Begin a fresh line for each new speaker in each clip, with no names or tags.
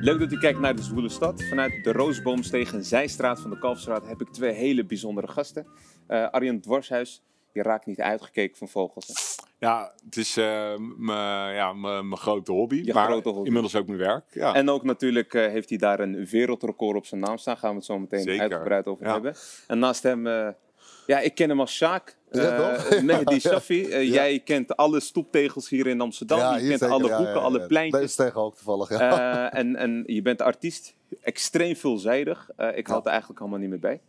Leuk dat u kijkt naar de Zwoele Stad. Vanuit de Roosboomsteeg en Zijstraat van de Kalfstraat heb ik twee hele bijzondere gasten. Eh Arjen Dwarshuis, je raakt niet uitgekeken van vogels. hè?
Ja, het is eh, mijn ja, eh, mijn- mijn grote hobby.
Je
maar
grote hobby.
inmiddels ook mijn werk. Ja.
En ook natuurlijk eh, heeft hij daar een wereldrecord op zijn naam staan. Gaan we het zo meteen
Zeker.
uitgebreid over
Ja.
hebben. En naast hem, eh, ja, ik ken hem als Sjaak.
Is dat
eh
wel?
Mehdi Shafi. Eh,
Ja.
Jij kent alle stoeptegels hier in Amsterdam. je
hier
kent
zeker,
alle
ja,
hoeken,
ja,
alle
ja.
pleintjes.
Deze tegen ook toevallig, ja.
Eh, en, en je bent artiest, extreem veelzijdig. Eh, ik had er eigenlijk allemaal niet meer bij.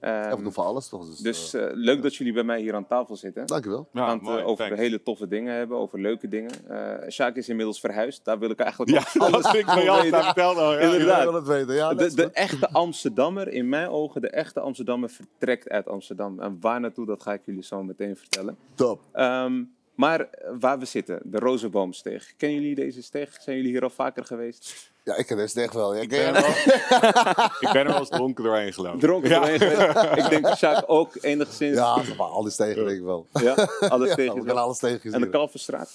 Ehm,
Ja, we doen voor alles toch? Dus,
dus
eh,
eh, leuk dat jullie bij mij hier aan tafel zitten.
dankjewel.
We
Ja,
gaan het eh,
mooi,
over
thanks.
hele toffe dingen hebben, over leuke dingen. Eh Sjaak is inmiddels verhuisd, daar wil ik eigenlijk
Ja,
al-
dat vind ik van jou
weten.
altijd verteld. al, ja.
Inderdaad.
Ik wil het weten. Ja, dat
De,
is
de
goed.
echte Amsterdammer, in mijn ogen, de echte Amsterdammer vertrekt uit Amsterdam. En waar naartoe, dat ga ik jullie zo meteen vertellen.
Top.
Ehm, maar eh, waar we zitten, de Rozenboomsteeg. Kennen jullie deze steeg? Zijn jullie hier al vaker geweest?
Ja, ik ken deze echt wel. Ja. Ik
Ik ben er
ken
wel- Ik ben er wel eens dronken doorheen gelopen.
Dronken
Ja.
doorheen geweest. Ik denk dat Sjaak ook enigszins...
ja, maar alles tegen, denk ik wel.
Ja, alles
Ja,
tegen
we
is
kunnen
wel.
alles tegen
En de
zien.
Kalverstraat.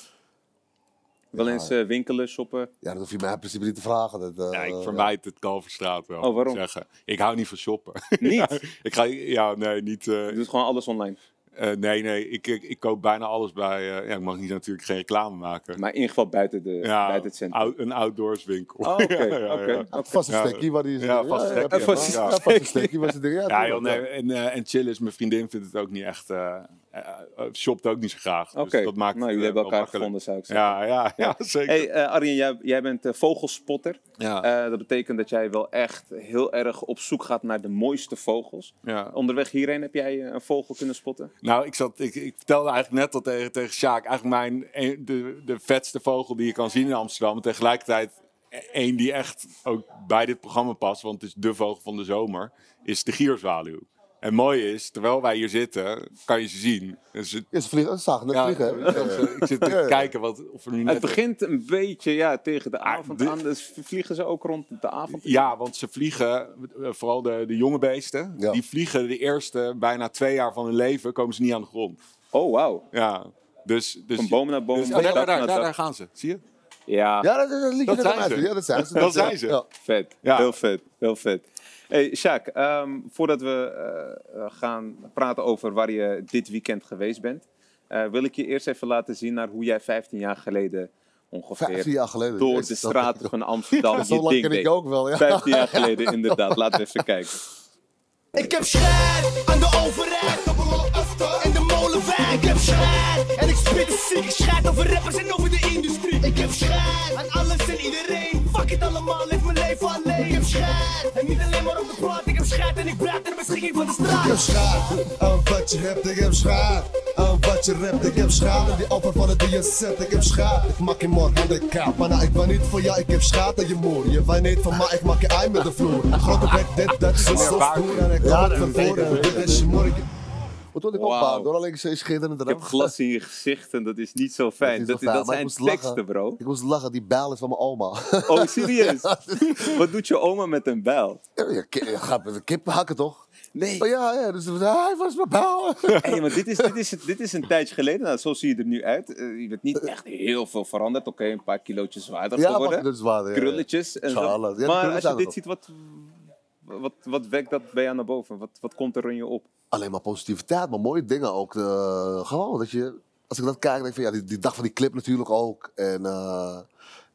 Wel eens eh, winkelen, shoppen.
Ja, dat hoef je mij in principe niet te vragen. Dat, eh,
Ja, ik vermijd het Kalverstraat wel.
Oh, waarom?
moet ik Zeggen. Ik hou niet van shoppen.
Niet.
ik ga, ja, nee, niet. eh,
Je doet gewoon alles online.
eh, nee, nee, ik, ik, ik koop bijna alles bij. eh, ja, ik mag niet natuurlijk geen reclame maken.
Maar in ieder geval buiten, de,
ja,
buiten het centrum.
out- een outdoors winkel.
Oh, oké,
Ja, ja,
oké.
ja.
eh, Vast een
Ja,
stekkie waar die is.
ja, vast een stekkie,
ja,
vast een
ja,
stekkie.
vast een stekkie was het ding. Ja,
Ja, joh,
tuurlijk,
nee,
ja.
en, eh, en chill is, mijn vriendin vindt het ook niet echt. eh, eh, eh, shopt ook niet zo graag.
Oké,
Dus dat maakt
nou
het,
jullie
eh,
hebben
wel
elkaar
makkelijk.
gevonden, zou ik zeggen.
Ja, ja, ja, zeker.
Hey, eh, Arjen, jij, jij bent eh, vogelspotter.
ja,
Eh, dat betekent dat jij wel echt heel erg op zoek gaat naar de mooiste vogels.
ja.
Onderweg hierheen heb jij eh, een vogel kunnen spotten.
Nou, ik, zat, ik, ik vertelde eigenlijk net al tegen, tegen Sjaak. Eigenlijk mijn, een- de, de vetste vogel die je kan zien in Amsterdam. En tegelijkertijd één die echt ook bij dit programma past. Want het is de vogel van de zomer. Is de gierzwaluw. En mooi is, terwijl wij hier zitten, kan je ze zien. Dus het,
Ja, ze vliegen. Ze zagen net
ja,
vliegen. hè.
dat is, eh, ik zit te
Ja, ja.
kijken wat, of er nu net...
Het begint een beetje ja, tegen de avond
de-
aan. Dus vliegen ze ook rond de avond.
Ja, want ze vliegen, eh, vooral de, de jonge beesten,
Ja.
die vliegen de eerste bijna twee jaar van hun leven, komen ze niet aan de grond.
Oh, wauw.
Ja, dus... dus
Van boom naar boom,
Dus, oh,
van
daar,
dak
daar,
naar
daar,
dak.
daar gaan ze, zie je?
Ja,
Ja, dat, dat, dat liet je
Dat
net
zijn
uit.
ze.
Ja, dat zijn ze.
Dat zijn
ja.
ze.
Ja.
vet.
Ja.
Heel vet. Heel vet. Hey, Sjaak, ehm, voordat we eh, eh, gaan praten over waar je dit weekend geweest bent, eh, wil ik je eerst even laten zien naar hoe jij 15 jaar geleden ongeveer
15 jaar geleden.
door
Jezus,
de
dat-
straten van Amsterdam
Zo
je
lang
ding
ken ik
deed.
ook wel. Ja.
15 jaar geleden, inderdaad. Laten we even kijken.
Ik heb schrijf aan de overheid en de molenwijk. Ik heb schrijf en ik spit de ziek. Ik schrijf over rappers en over de industrie. Ik heb schrijf aan alles en iedereen. Fuck it allemaal, leef mijn leven alleen. Ik heb schrijf en niet alleen maar op de plaat. Ik heb schrijf en ik blijf ter beschikking van de
Ik heb
straat.
schaar aan wat je hebt, ik heb schaar aan wat je rapt, ik heb schaar aan die offer van het die je zet, ik heb schaar. Ik maak je morgen aan de kaap, maar nou, ik ben niet voor jou, ik heb schaar aan je moer. Je weet niet van mij, ik maak je ei met de vloer. Grote bek, dit, dat, zo, zo, stoer en ik
Ja,
kom
dat
van
weet ik,
voren,
dat
dit is je morgen.
Wat wil ik
Wauw.
opbouwen? Door alleen ze schitterend
Ik heb glas in je gezicht en dat is niet zo fijn. Dat,
is
dat
wel fijn, maar
zijn
ik moest
teksten,
lachen.
bro.
Ik moest lachen, die bijl is van mijn oma.
Oh, serieus? Wat doet je oma met een bijl?
ja, ki- ja, gaat met een kip hakken toch?
Nee.
Oh ja, ja, dus hij was mijn bijl.
Hey, maar dit is, dit, is, dit is een tijdje geleden. Nou, zo zie je er nu uit. Eh, je bent niet echt heel veel veranderd. Oké, een paar kilootjes zwaarder
ja,
geworden.
maar dat is waar. ja.
Krulletjes en
Zal
zo.
alles. Ja, de
maar
krullen
als je
zijn er
dit
nog.
ziet, wat, wat, wat wekt dat bij jou naar boven? Wat, wat komt er in je op?
Alleen maar positiviteit, maar mooie dingen ook. eh, gewoon, dat je, als ik dat kijk, denk ik van ja, die, die dag van die clip natuurlijk ook. En, eh,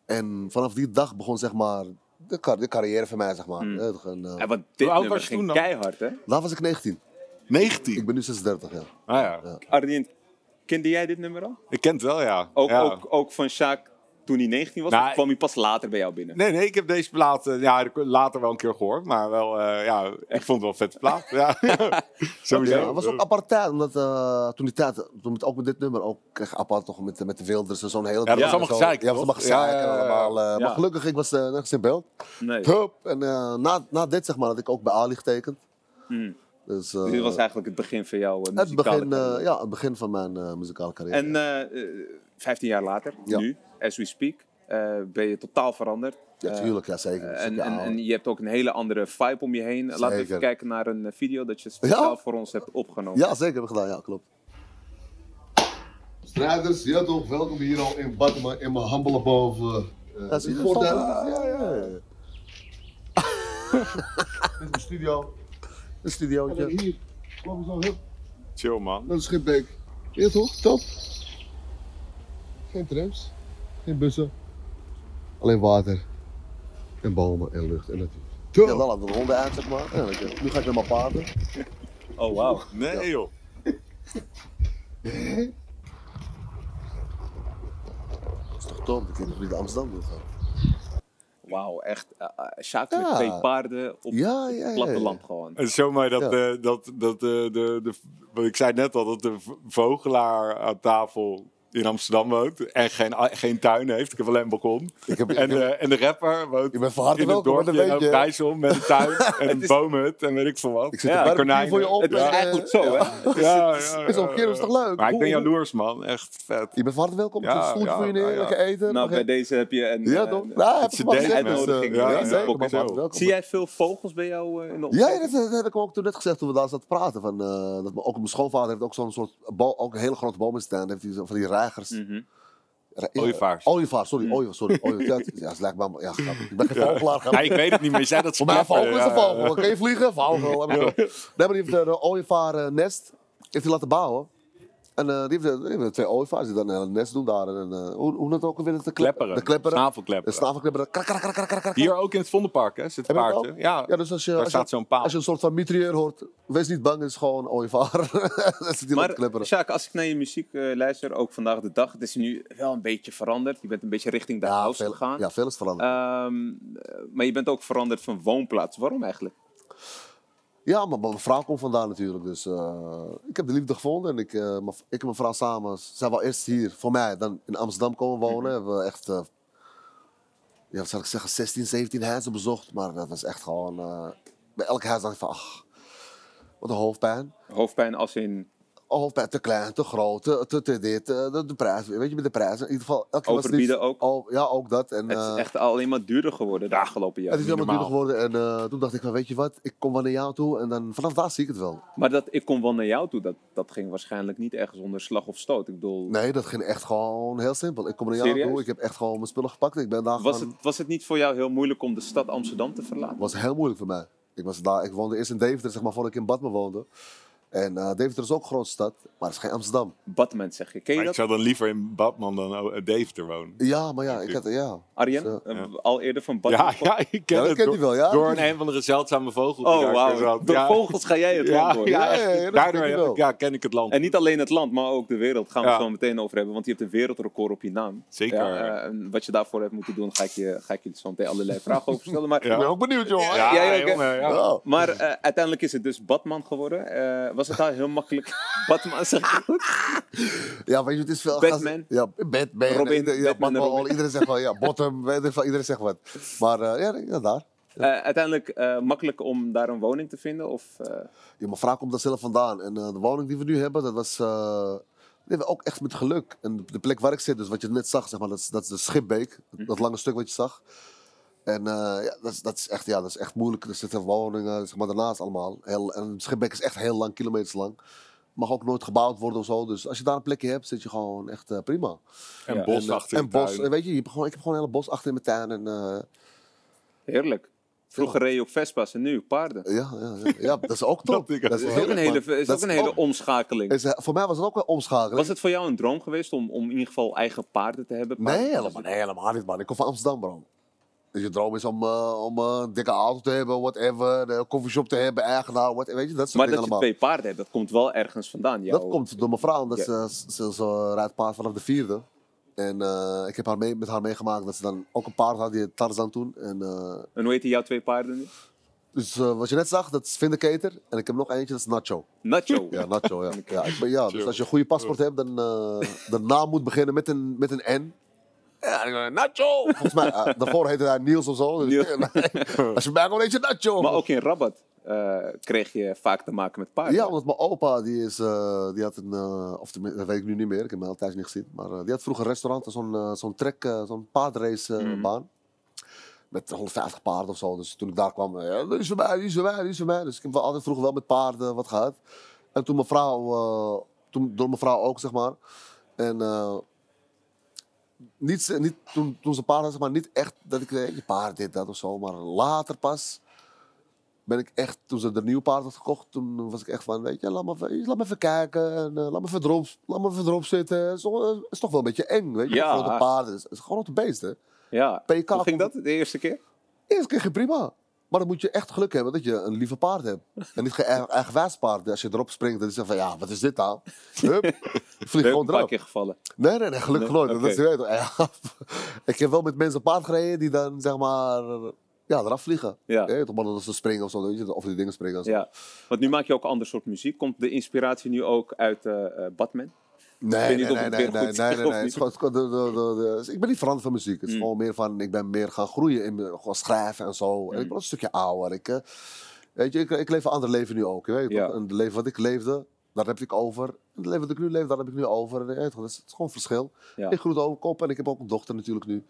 en vanaf die dag begon zeg maar de, car- de carrière van mij, zeg maar.
Hmm.
Ja, toch, en, eh,
Ja, want dit
oud
nummer
was je toen
ging
dan?
keihard, hè?
Daar was ik 19.
19.
Ik ben nu 36, ja.
Ah, ja.
Arjen, kende jij dit nummer al?
Ik ken het wel, ja.
Ook,
ja.
ook, ook van Sjaak toen hij 19 was?
Nou,
of kwam hij pas later bij jou binnen?
Nee, nee, ik heb deze plaat eh, ja, later wel een keer gehoord. Maar wel, eh, ja, ik vond het wel een vette plaat. Ja. Sowieso.
Ja, het was ook apart tijd, omdat eh, toen die tijd, toen met, ook met dit nummer, ook kreeg je apart toch met, met de Wilders en zo'n hele...
dat was
en
allemaal
zo.
gezeik,
Ja, dat was allemaal
toch? Ja,
gezeik en
ja, ja, ja.
allemaal. eh,
Ja.
Maar gelukkig, ik was eh, nergens in beeld.
Nee.
Hup, en eh, na, na dit zeg maar, had ik ook bij Ali getekend.
Hmm.
Dus, eh,
Dus dit was eigenlijk het begin van jouw eh,
het
muzikale
begin,
carrière.
eh, ja, het begin van mijn eh, muzikale carrière.
En eh, eh, 15 jaar later,
Ja.
nu, as we speak, eh, ben je totaal veranderd.
ja, tuurlijk, ja, zeker.
Eh,
Dus
en,
ja,
en, en je hebt ook een hele andere vibe om je heen. Laten we even
Zeker.
kijken naar een eh, video dat je speciaal
Ja?
voor ons hebt opgenomen.
ja, zeker hebben we gedaan, ja, klopt. Strijders, ja toch, welkom hier al in Batman, in mijn humble boven.
Dat
Ja,
is
zie je,
goed, hè?
ja, ja, ja.
Dit is mijn studio.
Een
En dan
studiootje.
hier. Kom zo, hup,
Chill, man.
naar de Schipbeek. Ja toch? Top. Geen trams. Geen bussen. Alleen water. En bomen en lucht en natuur.
Ja, dan hadden we de honden uit, zeg maar. Ja, weet je, nu ga ik helemaal paarden.
Oh, wauw.
Nee, joh.
Dat is toch tof, dat je nog niet naar Amsterdam dus, eh. wil gaan.
Wauw, echt. eh, eh, Sjaak met
Ja.
twee paarden op
Ja,
het
ja, ja.
platteland gewoon.
Het is zo mooi dat,
Ja.
eh, dat, dat eh, de, de, wat ik zei net al, dat de v- vogelaar aan tafel in Amsterdam woont en geen, a- geen tuin heeft. Ik heb alleen een balkon.
Ik heb-
en, de, en de rapper woont
Je bent van harte
in het
welkom, maar dat
dorpje in
weet je.
Overijssel met een tuin en een boomhut en weet ik veel wat.
Ik zit
Ja,
ja, een
konijnen.
konijn voor je op.
Het is
en, eh,
eigenlijk zo, hè?
Ja, ja,
is
ja,
op een keer, dat is
ja.
toch leuk?
Maar ik ben
Cool.
jaloers, man. Echt vet.
Je bent van harte welkom.
Ja,
Ja, stoeltje
ja,
voor je
nou
neer,
ja.
lekker eten.
Nou,
mag
bij
je-
deze heb je een...
Ja,
eh,
toch? Nou, heb
is
je
een
maar
date
gezegd.
uitnodiging,
mensen.
ja,
Ja,
ja,
zeker.
ook
Maar
zo.
van harte welkom.
Zie jij veel vogels bij jou eh, in de
Ja,
omgeving?
ja, dat, dat heb ik hem ook toen net gezegd toen we daar zaten te praten. Van, eh, dat, me- ook mijn schoonvader heeft ook zo'n soort boom, ook een hele grote boom in staan. Dan heeft hij zo van die reigers.
Mhm.
Re- ja,
Ooievaars.
Ooievaars, sorry. Ooievaars, sorry. ooievaars. Ja, het- ja, het lijkt me allemaal- ja, grappig. Ik ben geen vogelaar.
Ja,
grappig.
ik weet het niet meer. Je zei dat
Voor mij een
snapper,
vogel is een
ja.
vogel. Kan je vliegen? Vogel. heb ik ook. Nee, maar die heeft eh, een ooievaarnest heeft hij laten bouwen. En eh, die, heeft, die heeft twee ooievaars die dan eh, een nest doen daar. En, eh, hoe, hoe dat ook alweer? De
Klepperen.
De klepperen.
Snavelklepperen.
De snavelklepperen. Krak, krak, krak, krak, krak, krak.
Hier ook in het Vondelpark, hè, zit
Heb je dat
paardje.
ook?
Ja,
Ja, dus als je,
daar
als,
staat
je,
zo'n paal.
als je een soort van mitrailleur hoort, wees niet bang, het is gewoon ooievaar. dat zit die maar,
Maar
klepperen.
Sjaak, als ik naar je muziek eh, luister, ook vandaag de dag, het is nu wel een beetje veranderd. Je bent een beetje richting de house
veel,
gegaan.
ja, veel is veranderd.
Ehm, eh, maar je bent ook veranderd van woonplaats. Waarom eigenlijk?
Eh.
ja, maar mijn vrouw komt vandaan natuurlijk, dus eh, ik heb de liefde gevonden. En ik, eh, mijn- ik en mijn vrouw samen zijn wel eerst hier, voor mij, dan in Amsterdam komen wonen.
Mhm.
Hebben we echt, eh, ja, wat zal ik zeggen, 16, 17 huizen bezocht. Maar dat was echt gewoon, eh, bij elk huis dacht ik van, ach, wat een hoofdpijn.
Hoofdpijn als in
Of bij te klein, te groot, te, te, te dit, eh, de, de prijs. Weet je, met de prijs. In ieder geval, elke keer was het
Overbieden
iets-
ook?
al- ja, ook dat. En,
Het is
eh,
echt alleen maar duurder geworden de afgelopen
het
jaren.
is helemaal duurder
normaal.
geworden. En eh, toen dacht ik van, weet je wat, ik kom wel naar jou toe. En dan, vanaf daar zie ik het wel.
Maar dat ik kom wel naar jou toe, dat, dat ging waarschijnlijk niet ergens onder slag of stoot. Ik bedoel,
Nee, dat ging echt gewoon heel simpel. Ik kom naar jou
Serieus?
toe, ik heb echt gewoon mijn spullen gepakt. Ik ben daar
was,
gewoon-
het, was het niet voor jou heel moeilijk om de stad Amsterdam te verlaten?
was heel moeilijk voor mij. Ik, was daar, ik woonde eerst in Deventer, zeg maar, voordat ik in Badmen woonde. En eh, Deventer is ook een grote stad, maar het is geen Amsterdam.
Batman zeg je. Ken je
Maar ik
dat?
zou dan liever in Batman dan eh, Deventer wonen.
Ja, maar ja, ik had, ja.
Arjen,
Zo.
eh, al eerder van Batman.
Ja, ja, ik ken
dat
het.
kent
door,
hij wel, ja.
Door een, een van de zeldzame vogels. die
Oh,
daar
wauw.
weer zat.
Door
Ja.
vogels ga jij het land
Ja,
worden.
ja,
Ja, ja,
echt.
ja, dat
daardoor
ken ik
heb
wel.
ik- ja, ken ik het land.
En niet alleen het land, maar ook de wereld. Gaan we
Ja.
het zo meteen over hebben. Want je hebt een wereldrecord op je naam.
Zeker.
Ja, eh, en wat je daarvoor hebt moeten doen, ga ik je, ga ik je zo meteen allerlei vragen over stellen. Maar,
Ja.
ook benieuwd, jongen.
ja,
jij ook, hè?
jongen, ja.
Ja.
maar eh, uiteindelijk is het dus Batman geworden. Eh, was het daar heel makkelijk? Batman zeg ik goed?
Ja, weet je, het is veel...
Batman.
Ja, Batman.
Robin,
Ieder- ja,
Batman en
Batman,
Robin.
Iedereen zegt wel, ja, bottom, weet ik veel, iedereen zegt wat. Maar eh, ja, ja, daar.
Eh, uiteindelijk eh, makkelijk om daar een woning te vinden? Of, eh,
Ja, mijn vrouw komt daar zelf vandaan. En eh, de woning die we nu hebben, dat was... eh, die hebben we ook echt met geluk. En de, de plek waar ik zit, dus wat je net zag, zeg maar, dat, is, dat is de Schipbeek. Dat, dat lange stuk wat je zag. En eh, ja, dat, is, dat, is echt, ja, dat is echt moeilijk. Er zitten woningen zeg maar, daarnaast allemaal. Heel, en Schipbeek is echt heel lang, kilometers lang. Mag ook nooit gebouwd worden of zo. Dus als je daar een plekje hebt, zit je gewoon echt eh, prima.
En
Ja.
bos
En, eh,
achter
en
je
bos,
tuin.
weet je, je hebt gewoon, ik heb gewoon een hele bos achter in mijn tuin. En, eh,
heerlijk. Vroeger reed je op Vespa's en nu op paarden.
ja, ja, ja, ja, dat is ook top.
Dat ik-
Dat is ook een hele, is
dat
ook een hele
ook-
omschakeling.
is, eh, voor mij was het ook een omschakeling.
Was het voor jou een droom geweest om, om in ieder geval eigen paarden te hebben?
Nee,
Paarden-
helemaal, nee, helemaal niet, man. Ik kom van Amsterdam, bro. Dus je droom is om, eh, om eh, een dikke auto te hebben, whatever. Een coffeeshop te hebben, eigenaar, wat, weet je, dat soort
Maar dat je
dingen allemaal.
twee paarden hebt, dat komt wel ergens vandaan. Jouw...
Dat komt door mijn vrouw, omdat
Ja.
ze, ze, ze, ze rijdt paard vanaf de vierde. En eh, ik heb haar mee, met haar meegemaakt dat ze dan ook een paard had, die heet Tarzan toen. En, eh,
En hoe heet jouw twee paarden nu?
dus eh, wat je net zag, dat is Vindicator. En ik heb nog eentje, dat is Nacho.
Nacho.
Ja, Nacho, ja. ja, ik ben, ja dus als je een goede paspoort hebt, dan eh, de naam moet beginnen met een, met een N. Ja, dan, eh, Nacho! Volgens mij, eh, daarvoor heette hij Niels of zo. Dus, als je mij gewoon eentje Nacho!
Maar ook in Rabat eh, kreeg je vaak te maken met paarden.
Ja, omdat mijn opa, die, is, eh, die had een, eh, of tenminste, dat weet ik nu niet meer, ik heb hem al thuis niet gezien, maar eh, die had vroeger een restaurant, zo'n eh, zo'n trek, eh, zo'n paardracebaan. Met 150 paarden of zo. Dus toen ik daar kwam, eh, ja, die is voor mij, die is voor mij, die is voor mij. Dus ik heb wel altijd vroeger wel met paarden wat gehad. En toen mijn vrouw, eh, toen, door mijn vrouw ook, zeg maar. En eh, niet, ze- niet, toen, toen ze paarden had, zeg maar, niet echt dat ik eh, je paard dit, dat of zo. Maar later pas ben ik echt, toen ze de nieuw paard had gekocht, toen was ik echt van, weet je, laat me, even- laat me even kijken. En, eh, laat, me even erop, laat me even erop zitten. Het is, toch- eh, het is toch wel een beetje eng, weet je.
Ja.
Grote paarden, het is, het is gewoon een grote beest, hè.
Ja.
PK
Hoe ging dat de eerste keer?
Eerst keer ging prima. Maar dan moet je echt geluk hebben dat je een lieve paard hebt. En niet geen eigen- eigenwijs paard. Als je erop springt, dan is het van, ja, wat is dit nou? Hup, vlieg
Ben je
gewoon
een paar
erop.
keer gevallen.
Nee, nee, nee, gelukkig
Nee,
nooit. Dat is,
oké.
je weet, toch, ja, ik heb wel met mensen paard gereden die dan, zeg maar, ja, eraf vliegen.
Ja.
Je weet toch, maar dat ze springen of zo, weet je, of die dingen springen. en zo.
Ja. Want nu maak je ook een ander soort muziek. Komt de inspiratie nu ook uit eh, eh, Batman? Ik
Nee,
weet
nee,
niet
nee,
of
nee,
ik
nee,
het weer
nee,
goed
nee,
zeg of
nee. Het is
niet. Mm.
gewoon- het is gewoon- de- de- de- dus Ik ben niet veranderd van muziek. Het is gewoon meer van, ik ben meer gaan groeien in me- gewoon schrijven en zo.
Mm.
En ik ben een stukje ouder. Ik, eh, weet je, ik, ik leef een ander leven nu ook. Je weet
Ja.
toch? En het leven wat ik leefde, daar heb ik over. En het leven wat ik nu leef, daar heb ik nu over. En, je weet toch, dat is, het is gewoon verschil.
Ja.
Ik groeit ook op en ik heb ook een dochter natuurlijk nu.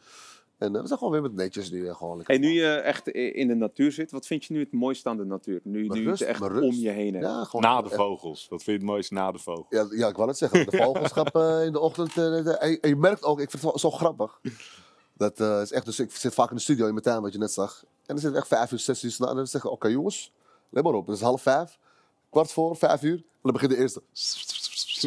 En eh, we zijn gewoon weer met netjes nu. En gewoon lekker
En nu je echt i- in de natuur zit, wat vind je nu het mooiste aan de natuur? Nu, nu je het
rust,
echt
maar rust.
om je heen hebt.
Ja, gewoon
Na de
echt-
vogels. Wat vind je het mooiste na de vogels?
Ja, ja, ik wou het zeggen. De vogelschap eh, in de ochtend. eh, eh, en, en je merkt ook, ik vind het zo, zo grappig. Dat eh, is echt, dus ik zit vaak in de studio in mijn tuin, wat je net zag. En dan zit ik echt vijf uur, zes uur s'nachts. En dan zeg ik, oké jongens, let maar op. Het is half vijf, kwart voor, vijf uur. En dan begint de eerste.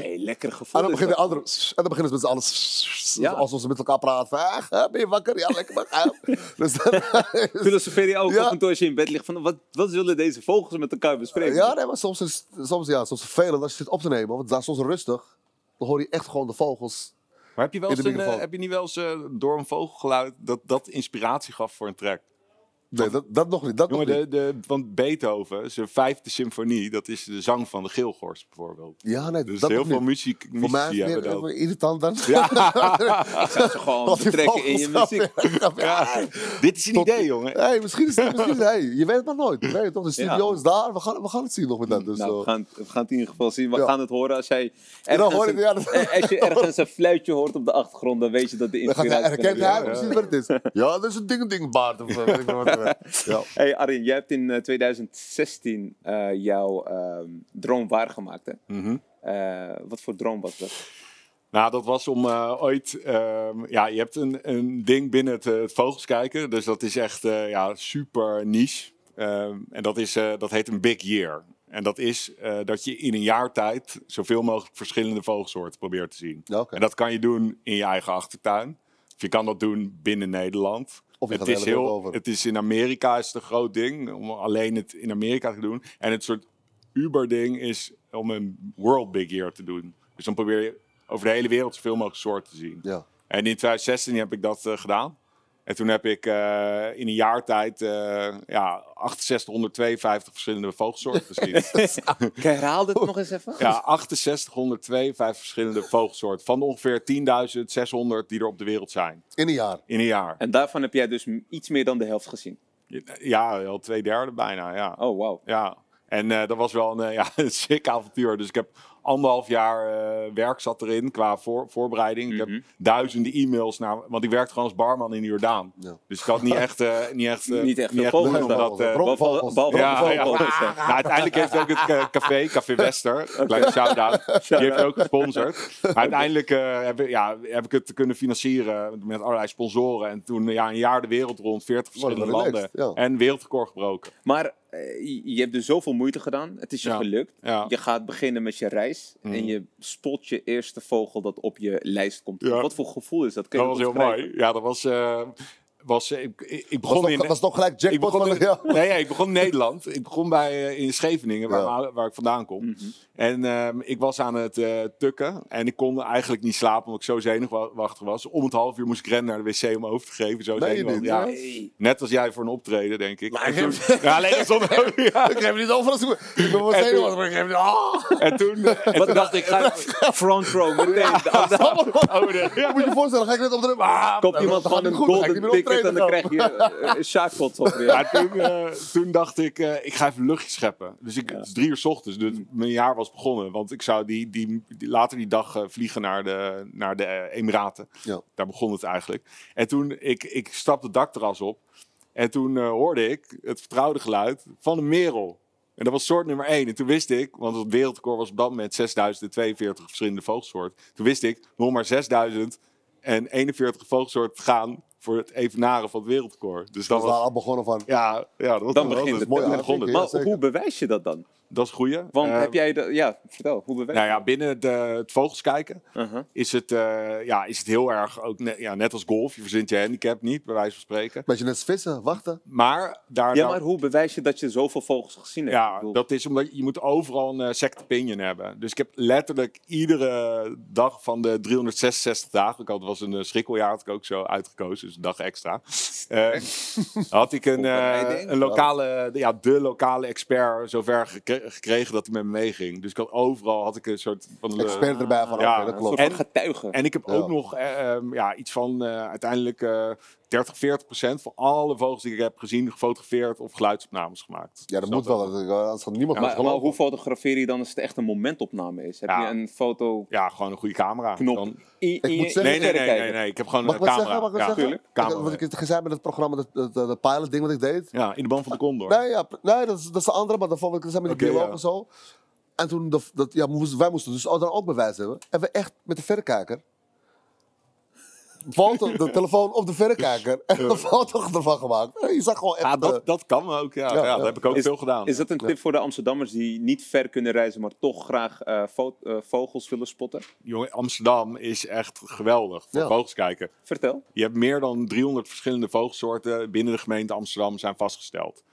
Hey, lekker gevoel.
En
is
dan begint de
dat.
andere. En dan beginnen ze met z'n allen.
Ja.
Alsof ze met elkaar praten. Van, "Ah, hè, ben je wakker? Ja, lekker maar. ga." Dus dan-
Filosofeer je ook
Ja.
af en toe als je in bed ligt van wat, wat zullen deze vogels met elkaar bespreken?
Ja, nee, maar soms is soms, ja, soms vervelend als je zit op te nemen. Want daar is soms rustig. Dan hoor je echt gewoon de vogels.
Maar heb je, wel
In
eens
de
een, eh,
microfoon.
heb je niet wel eens eh, door een vogelgeluid dat dat inspiratie gaf voor een track?
Nee, dat, dat nog niet. Dat
Jongen,
nog
de, de, want Beethoven, zijn vijfde symfonie, dat is de zang van de geelgors bijvoorbeeld.
niet. Ja, nee,
Dus
dat
heel
nog
veel
niet.
muziek
Voor mij is
muzici
het
hebben
meer
dat.
meer irritant dan.
Ik zou ze gewoon
Als die
betrekken in je
vogels-
muziek.
Ja, dit is een
Tot-
idee, jongen.
Hey, misschien is het, misschien is het- hey, je weet het maar nooit. Nee, toch, de studio
Ja.
is daar, we gaan, we gaan het zien nog met dat. Dus,
Nou,
eh,
we, gaan, het- we gaan het in ieder geval zien. We
Ja.
gaan het horen als jij
dan
ergens,
hoor
een,
ik- ja, dat-
eh, als je ergens een fluitje hoort op de achtergrond, dan weet je dat de
dan gaat
inspiratie
hij herkent
kan-
hij precies wat het is. Ja, dat is een ding ding baard. Of, eh, weet ik veel wat, eh. ja.
Hey Arjen, jij hebt in eh, 2016 eh, jouw ehm, droom waargemaakt. Hè?
Mhm.
Eh, wat voor droom was dat?
Nou, dat was om eh, ooit. ehm, ja, je hebt een, een ding binnen het, eh, het vogelskijken. Dus dat is echt eh, ja, super niche. Ehm, en dat, is, eh, dat heet een big year. En dat is eh, dat je in een jaar tijd zoveel mogelijk verschillende vogelsoorten probeert te zien.
Ja, oké.
En dat kan je doen in je eigen achtertuin. Of je kan dat doen binnen Nederland.
Of je
het,
gaat
is
de hele
heel,
wereld over.
het is in Amerika is het een groot ding. Om alleen het in Amerika te doen. En het soort Uber-ding is om een World Big Year te doen. Dus dan probeer je over de hele wereld zoveel mogelijk soorten te zien.
Ja.
En in 2016 heb ik dat eh, gedaan. En toen heb ik eh, in een jaar tijd eh, ja, 6852 verschillende vogelsoorten gezien.
Herhaal dit nog eens even.
ja, 6852 verschillende vogelsoorten. Van de ongeveer 10.600 die er op de wereld zijn.
In een jaar.
In een jaar.
En daarvan heb jij dus m- iets meer dan de helft gezien.
Ja, al twee derde bijna, ja.
Oh, wauw.
Ja, en eh, dat was wel een, eh, ja, een sick avontuur. Dus ik heb anderhalf jaar eh, werk zat erin qua voor, voorbereiding. Ik heb duizenden e-mails naar... Want ik werkte gewoon als barman in de Jordaan.
Ja.
Dus ik had niet echt... eh, niet echt, eh,
Niet echt veel
doen,
vogels,
omdat,
vogels,
eh,
bro-
Behalve-
vogels.
behalve
ja,
de
ja.
vogels, hè.
Nou, uiteindelijk heeft ook het eh, café, Café Wester, kleine shout-out, die heeft ook gesponsord. Maar uiteindelijk eh, heb, ik- ja, heb ik het kunnen financieren met allerlei sponsoren. En toen ja, een jaar de wereld rond, 40 verschillende
relaxed,
landen.
ja.
En wereldrecord gebroken.
Maar eh, je- je hebt dus zoveel moeite gedaan. Het is je
Ja,
gelukt.
ja. Mm.
Je gaat beginnen met je reis. En je spot je eerste vogel dat op je lijst komt.
Ja.
Wat voor gevoel is dat? Kun je
Dat was heel
dat
mooi. Ja, dat was. eh, was eh, ik, ik- ik
Dat
begon
is
in.
toch- dat is toch gelijk
ik
jackpot
begon
van
in,
de ja.
nee, ja, ik begon in Nederland. Ik begon bij, eh, in Scheveningen, waar,
Ja.
mijn- waar ik vandaan kom.
Mhm.
En ehm, ik was aan het eh, tukken. En ik kon eigenlijk niet slapen, omdat ik zo zenuwachtig was. Om het half uur moest ik rennen naar de wc om over te geven. Zo
Nee,
zenuwachtig.
niet,
ja.
ja.
Net als jij voor een optreden, denk ik.
Maar
En
ik heb-
toen- ja, alleen dat stond ook- ja.
Ik heb niet overal zoeken. Ik ben wel
En toen-
zenuwachtig, maar ik heb niet... Ah!
En toen... eh, En
Wat
toen
dacht ik? Ga front row meteen. Dan
oh, nee.
Ja, Moet je je voorstellen, ga ik net Ah, nou, op de rem.
komt iemand van een golden ticket en dan krijg je eh, een shackpot op je.
Maar toen, eh, toen dacht ik, eh, ik ga even luchtje scheppen. Dus ik, het is drie uur 's ochtends, dus
Mm.
mijn jaar was begonnen. Want ik zou die, die, die- later die dag eh, vliegen naar de, naar de eh, Emiraten.
Ja.
Daar begon het eigenlijk. En toen, ik, ik stapte het dakterras op. En toen eh, hoorde ik het vertrouwde geluid van een merel. En dat was soort nummer één. En toen wist ik, want het wereldrecord was op dat moment 6042 verschillende vogelsoorten. Toen wist ik, nog maar 6041 vogelsoorten te gaan voor het evenaren van het wereldrecord. Dus dat
Dat was daar
was...
al begonnen van.
Ja, ja, dat
Dan
was-
begint
dat
het.
is-
Mooi
dan
uitzicht,
begon het.
hè?
Maar
zeker.
hoe bewijs je dat dan?
Dat is goeie.
Want
Eh,
heb jij dat... Ja, vertel, hoe bewijs
Nou ja, binnen de, het vogels kijken
Uh-huh.
is, het, eh, ja, is het heel erg, ook net, ja, net als golf, je verzint je handicap niet, bij wijze van spreken.
Beetje net als vissen, wachten.
Maar daar, nou
Ja,
daar-
maar hoe bewijs je dat je zoveel vogels gezien hebt? Ik
ja,
bedoel,
dat is omdat je moet overal een eh, second opinion hebben. Dus ik heb letterlijk iedere dag van de 366 dagen, ik had, het was een eh, schrikkeljaar, had ik ook zo uitgekozen, dus een dag extra. eh, had ik een, eh,
Voorbereiding.
een lokale, ja, de lokale expert zover gekre- gekregen dat hij met me meeging. Dus ik had overal had ik een soort van eh,
Expert erbij van.
ja,
oké, dat
een soort
klopt.
van
en-
getuigen.
En ik heb
Ja.
ook nog eh, ehm, ja, iets van eh, uiteindelijk eh 30, 40 procent van alle vogels die ik heb gezien, gefotografeerd of geluidsopnames gemaakt.
Ja, dat
Dus
moet wel. natuurlijk, eh, Anders gaat niemand
maar,
ons
maar
geloven.
hoe fotografeer je dan als het echt een momentopname is? Heb
Ja.
je een fotoknop
Ja, gewoon een goede camera. Dan-
in, in,
moet
in je
zeggen-
nee, nee,
verrekijker?
nee, nee, nee. Ik heb gewoon
Mag
een
ik wat
camera.
zeggen? Mag ik wat
ja,
zeggen?
tuurlijk.
Camera.
Ik- Wat ik gezegd met het programma, dat, dat, dat pilot ding wat ik deed.
Ja, in de band van de condor.
Nee, ja, pr- nee dat, is, dat is de andere, maar daarvoor wil ik het zeggen met die
Oké,
bioloog
ja.
en zo. En toen, de, dat, ja, moesten- wij moesten dus ook- dan ook bewijs hebben. En we echt met de verrekijker. Foto, de telefoon op de verrekijker. En een foto ervan gemaakt. En je zag gewoon echt...
Ja,
eh,
dat, dat kan ook. Ja,
Ja,
ja,
ja.
dat heb ik ook
Is-
veel gedaan.
Is dat een tip voor de Amsterdammers die niet ver kunnen reizen, maar toch graag eh, fo- eh, vogels willen spotten?
Jongen, Amsterdam is echt geweldig voor
Ja.
vogels kijken.
Vertel.
Je hebt meer dan 300 verschillende vogelsoorten binnen de gemeente Amsterdam zijn vastgesteld.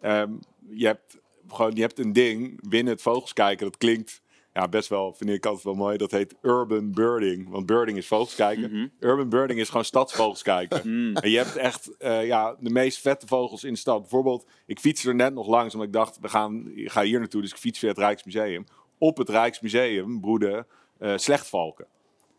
Ehm, je, hebt gewoon, je hebt een ding binnen het vogelskijken, dat klinkt ja, best wel, vind ik altijd wel mooi, dat heet urban birding. Want birding is vogelskijken. Urban birding is gewoon stadsvogelskijken. En je hebt echt eh, ja, de meest vette vogels in de stad. Bijvoorbeeld, ik fietste er net nog langs, omdat ik dacht, we gaan, ik ga hier naartoe, dus ik fiets via het Rijksmuseum. Op het Rijksmuseum broeden eh, slechtvalken.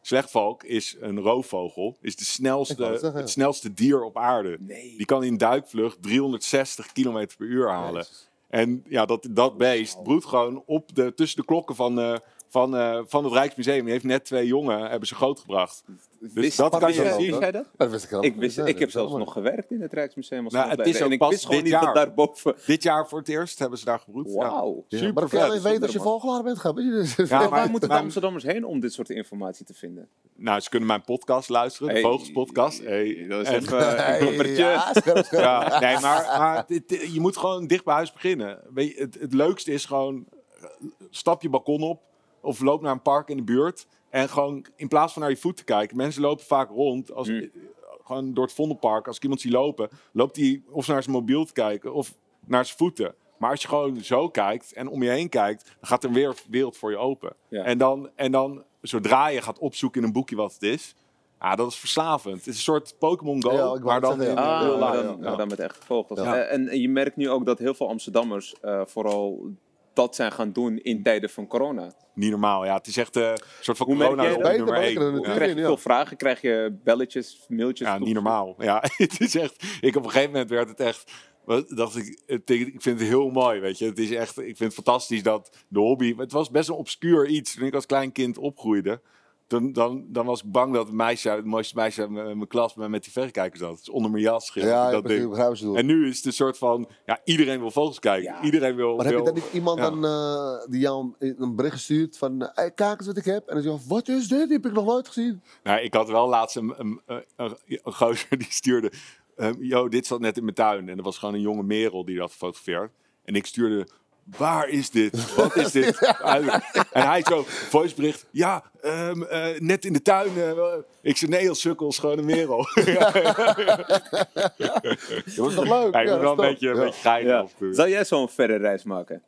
Slechtvalk is een roofvogel, is de snelste,
wou het zeggen, ja.
het snelste dier op aarde. Die kan in duikvlucht 360 km per uur halen. En ja, dat, dat beest broedt gewoon op de, tussen de klokken van, eh, van, eh, van het Rijksmuseum. Die heeft net twee jongen, hebben ze grootgebracht. Dus
Wist-
dat kan
wist
je
jij-
zien.
wist jij dat?
dat wist ik helemaal
Ik, wist,
niet.
ik heb zelfs
helemaal
nog gewerkt in het Rijksmuseum als
Nou, het is
rondleider.
ook
en ik
pas
wist gewoon
dit
niet dat
jaar.
daarboven...
Dit jaar voor het eerst hebben ze daar gebroed.
Wauw.
niet.
Ja.
Ja, maar
Super
dat kan je alleen
vet.
weten als je vogelaar bent. Gaan.
Ja, maar-
Waar moeten de
maar-
Amsterdammers heen om dit soort informatie te vinden?
Nou, ze kunnen mijn podcast luisteren, de
Hey,
Vogelspodcast. Hey,
Dat is
en-
even een
eh,
bumpertje.
ja, scherp, scherp.
Ja, nee, maar, maar dit- dit- je moet gewoon dicht bij huis beginnen. Weet je, het, het leukste is gewoon, eh, stap je balkon op of loop naar een park in de buurt. En gewoon, in plaats van naar je voet te kijken, mensen lopen vaak rond. Als,
Hm.
eh, Gewoon door het Vondelpark, als ik iemand zie lopen, loopt hij of naar zijn mobiel te kijken of naar zijn voeten. Maar als je gewoon zo kijkt en om je heen kijkt, dan gaat er weer een wereld voor je open.
Ja.
En, dan, en dan, zodra je gaat opzoeken in een boekje wat het is, ah, dat is verslavend. Het is een soort Pokémon Go,
Ja, ik wou
maar
het
dan
zeggen,
in,
ja.
eh,
Ah,
real
maar
life.
dan,
Ja.
maar dan met echte vogels.
Ja.
Eh, en je merkt nu ook dat heel veel Amsterdammers eh, vooral dat zijn gaan doen in tijden van corona.
Niet normaal, ja. Het is echt eh, een soort van
Hoe merk
corona
jij dat?
op
Beter
nummer
berekenen
1.
natuurlijk.
Ja.
Krijg je
ja.
veel vragen, krijg je belletjes, mailtjes.
Ja,
toe-
niet normaal. Ja, het is echt... Ik op een gegeven moment werd het echt... wat- Dacht ik, het, ik vind het heel mooi, weet je. Het is echt, ik vind het fantastisch dat de hobby... Het was best een obscuur iets toen ik als klein kind opgroeide. Dan, dan, dan was ik bang dat het meisje, het mooiste meisje in mijn in mijn klas met, met die verrekijkers zat. Dus onder mijn jas. ging
Ja,
ik
ik
dat
begrijp- ik
ding.
begrijp wat je bedoelt.
En nu is het een soort van... Ja, iedereen wil vogels kijken.
Ja.
Iedereen wil...
Maar heb je
wil-
dan niet iemand
Ja.
dan, eh, die jou een een bericht stuurt van... eh, hey, kijk eens wat ik heb. En dan zeg je, wat is dit? Die heb ik nog nooit gezien.
Nou, ik had wel laatst een, een, een, een- een gozer die stuurde... ehm, Yo, dit zat net in mijn tuin. En dat was gewoon een jonge merel die dat fotografeert. En ik stuurde... Waar is dit? Wat is dit? en hij zo, voicebericht. Ja, ehm, eh, net in de tuin. eh, wel." ik zei, nee, als sukkels, gewoon een merel.
Dat was toch leuk?
Ja, ik
Ja,
moet wel
dat
een
is
beetje,
top.
een
Ja.
beetje geinig eh,
Ja.
eh,
afsturen.
Zou jij zo'n verre reis maken?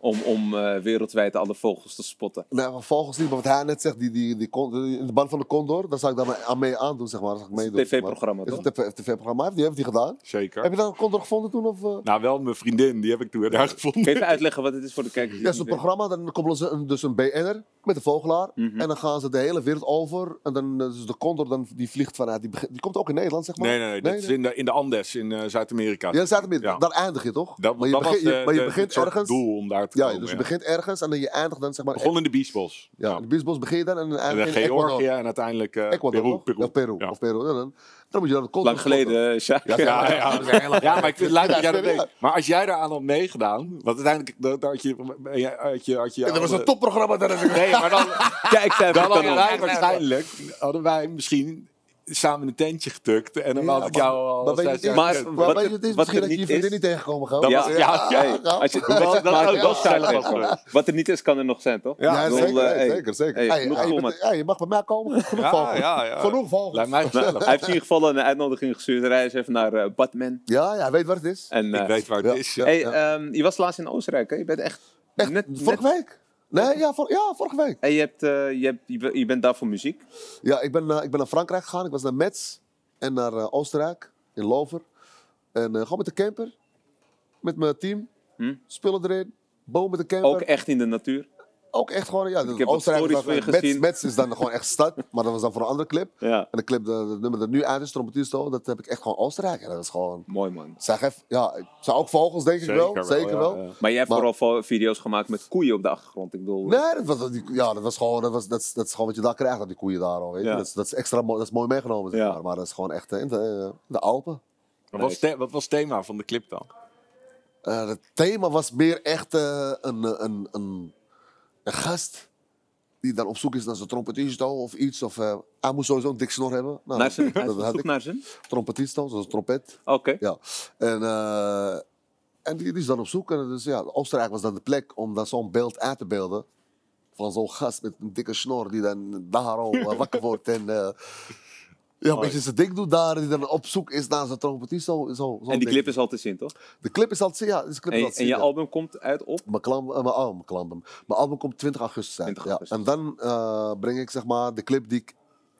Om, om eh, wereldwijd alle vogels te spotten.
Nee, maar Nou, vogels niet, maar wat hij net zegt, die, die, die, con- in de band van de Condor, daar zou ik daar maar aan mee aandoen, zeg maar. Dat zou ik meedoen.
een TV-programma,
zeg maar. Is het een tv-programma? Heeft die, heeft die gedaan? Heb
Zeker.
je dan een Condor gevonden toen? Of, eh?
Nou, wel mijn vriendin, die heb ik toen daar
Kun
gevonden.
je even uitleggen wat het is voor de kijkers? die
Ja,
het
zo'n
niet
programma, dan komt dus een, dus een BN'er met een vogelaar.
Mhm.
En dan gaan ze de hele wereld over. En dan eh, dus de Condor, dan, die vliegt vanuit, die, begint- die komt ook in Nederland, zeg maar.
Nee, nee, nee. Dat is in de, in de Andes in eh, Zuid-Amerika.
Ja, dat staat ermee.
Ja.
Daar eindig je toch?
Dat,
maar je,
dat
begint-
was
je-
eh,
maar je
de- het
begint
soort
ergens.
doel om daar te
Ja,
Oh,
komen.
dus je
ja.
begint ergens en dan je eindigt dan, zeg maar.
Begon in de biesbos.
ja, in de biesbos begin je dan en dan
En
eindig je in
Georgië
Ecuador.
en uiteindelijk eh,
Ecuador,
Peru.
toch? Ja, Peru.
Ja.
Of Peru. Ja, dan, dan moet je dan de Condor
Lang geleden, eh, Sjaak.
Ja, ja, ja. Ja, maar ik vind het leuk dat jij dat
Ja,
deed. Maar als jij daaraan had meegedaan, want uiteindelijk dat- dat had je... Had je, had je
Dat was
alle-
een topprogramma. daar heb ik-
Nee, maar dan,
Kijk,
dan
cijfer
hadden
kan
wij
op.
waarschijnlijk hadden wij misschien samen in een tentje getukt. En dan had ik jou al
Maar weet
zes
je,
jaar
Maar-
maar,
gekend.
wat
weet
het-
je, het is
wat
misschien
er
dat je je
niet is-
vriendin niet tegenkomen gaat.
Dat
Ja,
was-
ja,
Hey,
ja.
als je,
Dat was- dat
maar-
was
wat,
gezellig, was geweest.
er niet is, kan er nog zijn, toch?
Ja,
Ik bedoel,
zeker,
eh, hey,
zeker, zeker.
hey,
Hey,
genoeg
hey, je,
volmaak.
bent- hey, je mag bij mij komen. Genoeg
Ja,
vogels.
ja, ja.
Genoeg vogels.
Lijkt mij
Nou,
gezellig.
hij heeft in ieder geval een uitnodiging gestuurd. Hij is even naar eh, Batman.
Ja, ja, weet wat het is.
En, eh,
Ik weet waar
Ja,
het is.
ja.
hey, ehm, je was laatst in Oostenrijk, hè? Je bent echt...
Echt,
net,
vorige
net-
week? Nee, ja, vor- ja, vorige week.
Hey, je, hebt, eh, je, hebt, je, be- je bent daar voor muziek.
Ja, ik ben, eh, ik ben naar Frankrijk gegaan. Ik was naar Metz en naar eh, Oostenrijk, in Lover. En eh, gewoon met de camper, met mijn team,
Hm?
spullen erin, boom met de camper.
Ook echt in de natuur.
Ook echt gewoon, ja, ik
heb wat stories van je gezien.
Mets is dan gewoon echt stad, maar dat was dan voor een andere clip.
Ja.
En de clip, de, de nummer dat nu uit is, Trompetierstoel, dat heb ik echt gewoon Oostenrijk. En dat is gewoon,
Mooi, man.
zeg even, ja, het zijn ook vogels denk ik
Zeker
wel,
wel,
zeker
ja,
wel.
ja.
Maar jij hebt
Maar-
vooral vo- video's gemaakt met koeien op de achtergrond. Ik bedoel,
Nee, dat was, die- ja, dat was gewoon, dat, was, dat, is, dat is gewoon wat je daar krijgt, dat die koeien daar al, weet je.
Ja.
Dat, is, dat is extra mooi, dat is mooi meegenomen, zeg
Ja.
maar. Maar dat is gewoon echt eh, in de, eh, de Alpen.
eh,
Wat was the- Wat was het thema van de clip dan?
Eh, het thema was meer echt eh, een, eh, een, een, een gast die dan op zoek is naar zijn trompetisto of iets. Of, eh, hij moest sowieso een dik snor hebben. Nou,
naar zijn,
dat had
zoek
ik.
naar zijn.
Trompetisto, zoals een trompet.
Oké.
Ja. En, eh, en die, die is dan op zoek. En dus ja, Oostenrijk was dan de plek om dan zo'n beeld uit te beelden. Van zo'n gast met een dikke snor die dan daar al eh, wakker wordt. En eh, ja, een beetje zijn ding doet daar. Die dan op zoek is naar zijn trompetisto. Zo, zo'n
En die
ding.
clip is al te zien, toch?
De clip is al te zien, ja. Dus de clip is
En,
al te
en je
zien, ja.
album komt uit op.
Mijn, klam, eh, mijn, album, mijn, klam- mijn album komt 20 augustus uit.
20
ja.
augustus.
En dan eh, breng ik zeg maar, de clip die ik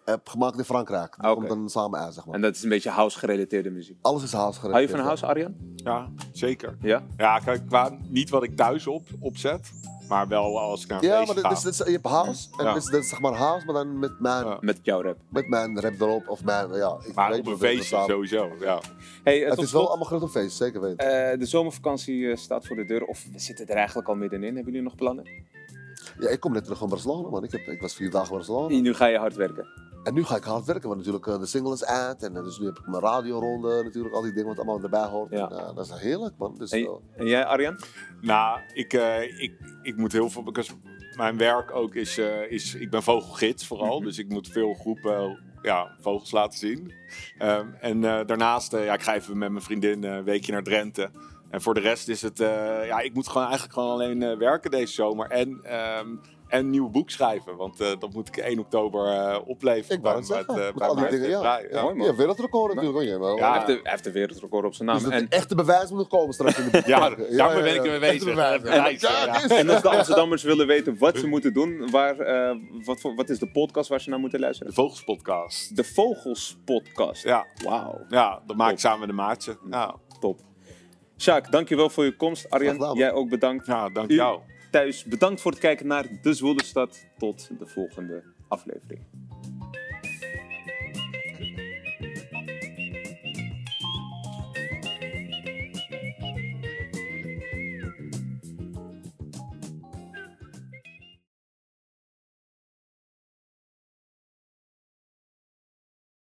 heb gemaakt in Frankrijk. Die
Ah, oké.
komt dan samen uit. Zeg maar.
En dat is een beetje house-gerelateerde muziek.
Alles is house
Hou je
gerelateerd,
van house, Arjan?
Ja, zeker.
Ja?
Ja, kijk, qua, niet wat ik thuis op, opzet, maar wel als ik naar een
Ja, maar
feest
dit
ga.
is, dit is- je hebt house. En
Ja.
dit, is, dit is zeg maar house, maar dan met mijn,
Ja.
Met jouw rap.
met mijn rap erop. Of mijn, ja, ik
Maar
weet
op
niet
een
of dit
feestje
bestaat.
sowieso, ja.
Hey, eh,
Het
tot
is wel
slot,
allemaal grote feest, zeker weten.
eh, de zomervakantie eh, staat voor de deur. Of we zitten er eigenlijk al middenin. Hebben jullie nog plannen?
Ja, ik kom net terug van Barcelona, man. Ik, heb, ik was vier dagen in Barcelona.
Nu ga je hard werken.
En nu ga ik hard werken, want natuurlijk eh, de single is uit. En eh, dus nu heb ik mijn radioronde, natuurlijk. Al die dingen wat allemaal erbij hoort.
Ja.
En, eh, dat is heerlijk, man. Dus, eh,
En, en jij, Arjan?
Nou, ik, eh, ik, ik moet heel veel. because Mijn werk ook is, eh, is. Ik ben vogelgids vooral.
Mhm.
Dus ik moet veel groepen ja, vogels laten zien. Ehm, en eh, daarnaast, eh, ja, ik ga even met mijn vriendin eh, een weekje naar Drenthe. En voor de rest is het. eh, ja, ik moet gewoon eigenlijk gewoon alleen eh, werken deze zomer. En. ehm, en een nieuw boek schrijven, want eh, dat moet ik 1 oktober eh, opleveren.
Ik wou
bij
het
mijn-
zeggen,
eh,
met
bij
al die
mijn
dingen, ja.
uitgeverij,
Mooi, man.
Ja, wereldrecord natuurlijk. Ja. wel.
Hij,
Ja.
heeft de, hij heeft de wereldrecord op zijn naam.
Dus dat
en,
echte bewijs moet nog komen straks in de boek.
Ja, daarmee ben ik ermee bezig.
Echte bewijs,
Ja,
ja.
bewijs, ja.
dit is-
en als de Amsterdammers willen weten wat ze moeten doen, waar, eh, wat, voor- wat is de podcast waar ze naar moeten
De
luisteren?
Vogelspodcast.
De Vogels Podcast.
Ja.
Wauw,
ja, dat maak ik samen met de maatje. Ja,
top. Sjaak, dankjewel voor je komst.
Graag
Arjan,
gedaan.
jij ook bedankt.
ja dank
U
jou.
thuis, bedankt voor het kijken naar De Zwolle Stad. Tot de volgende aflevering.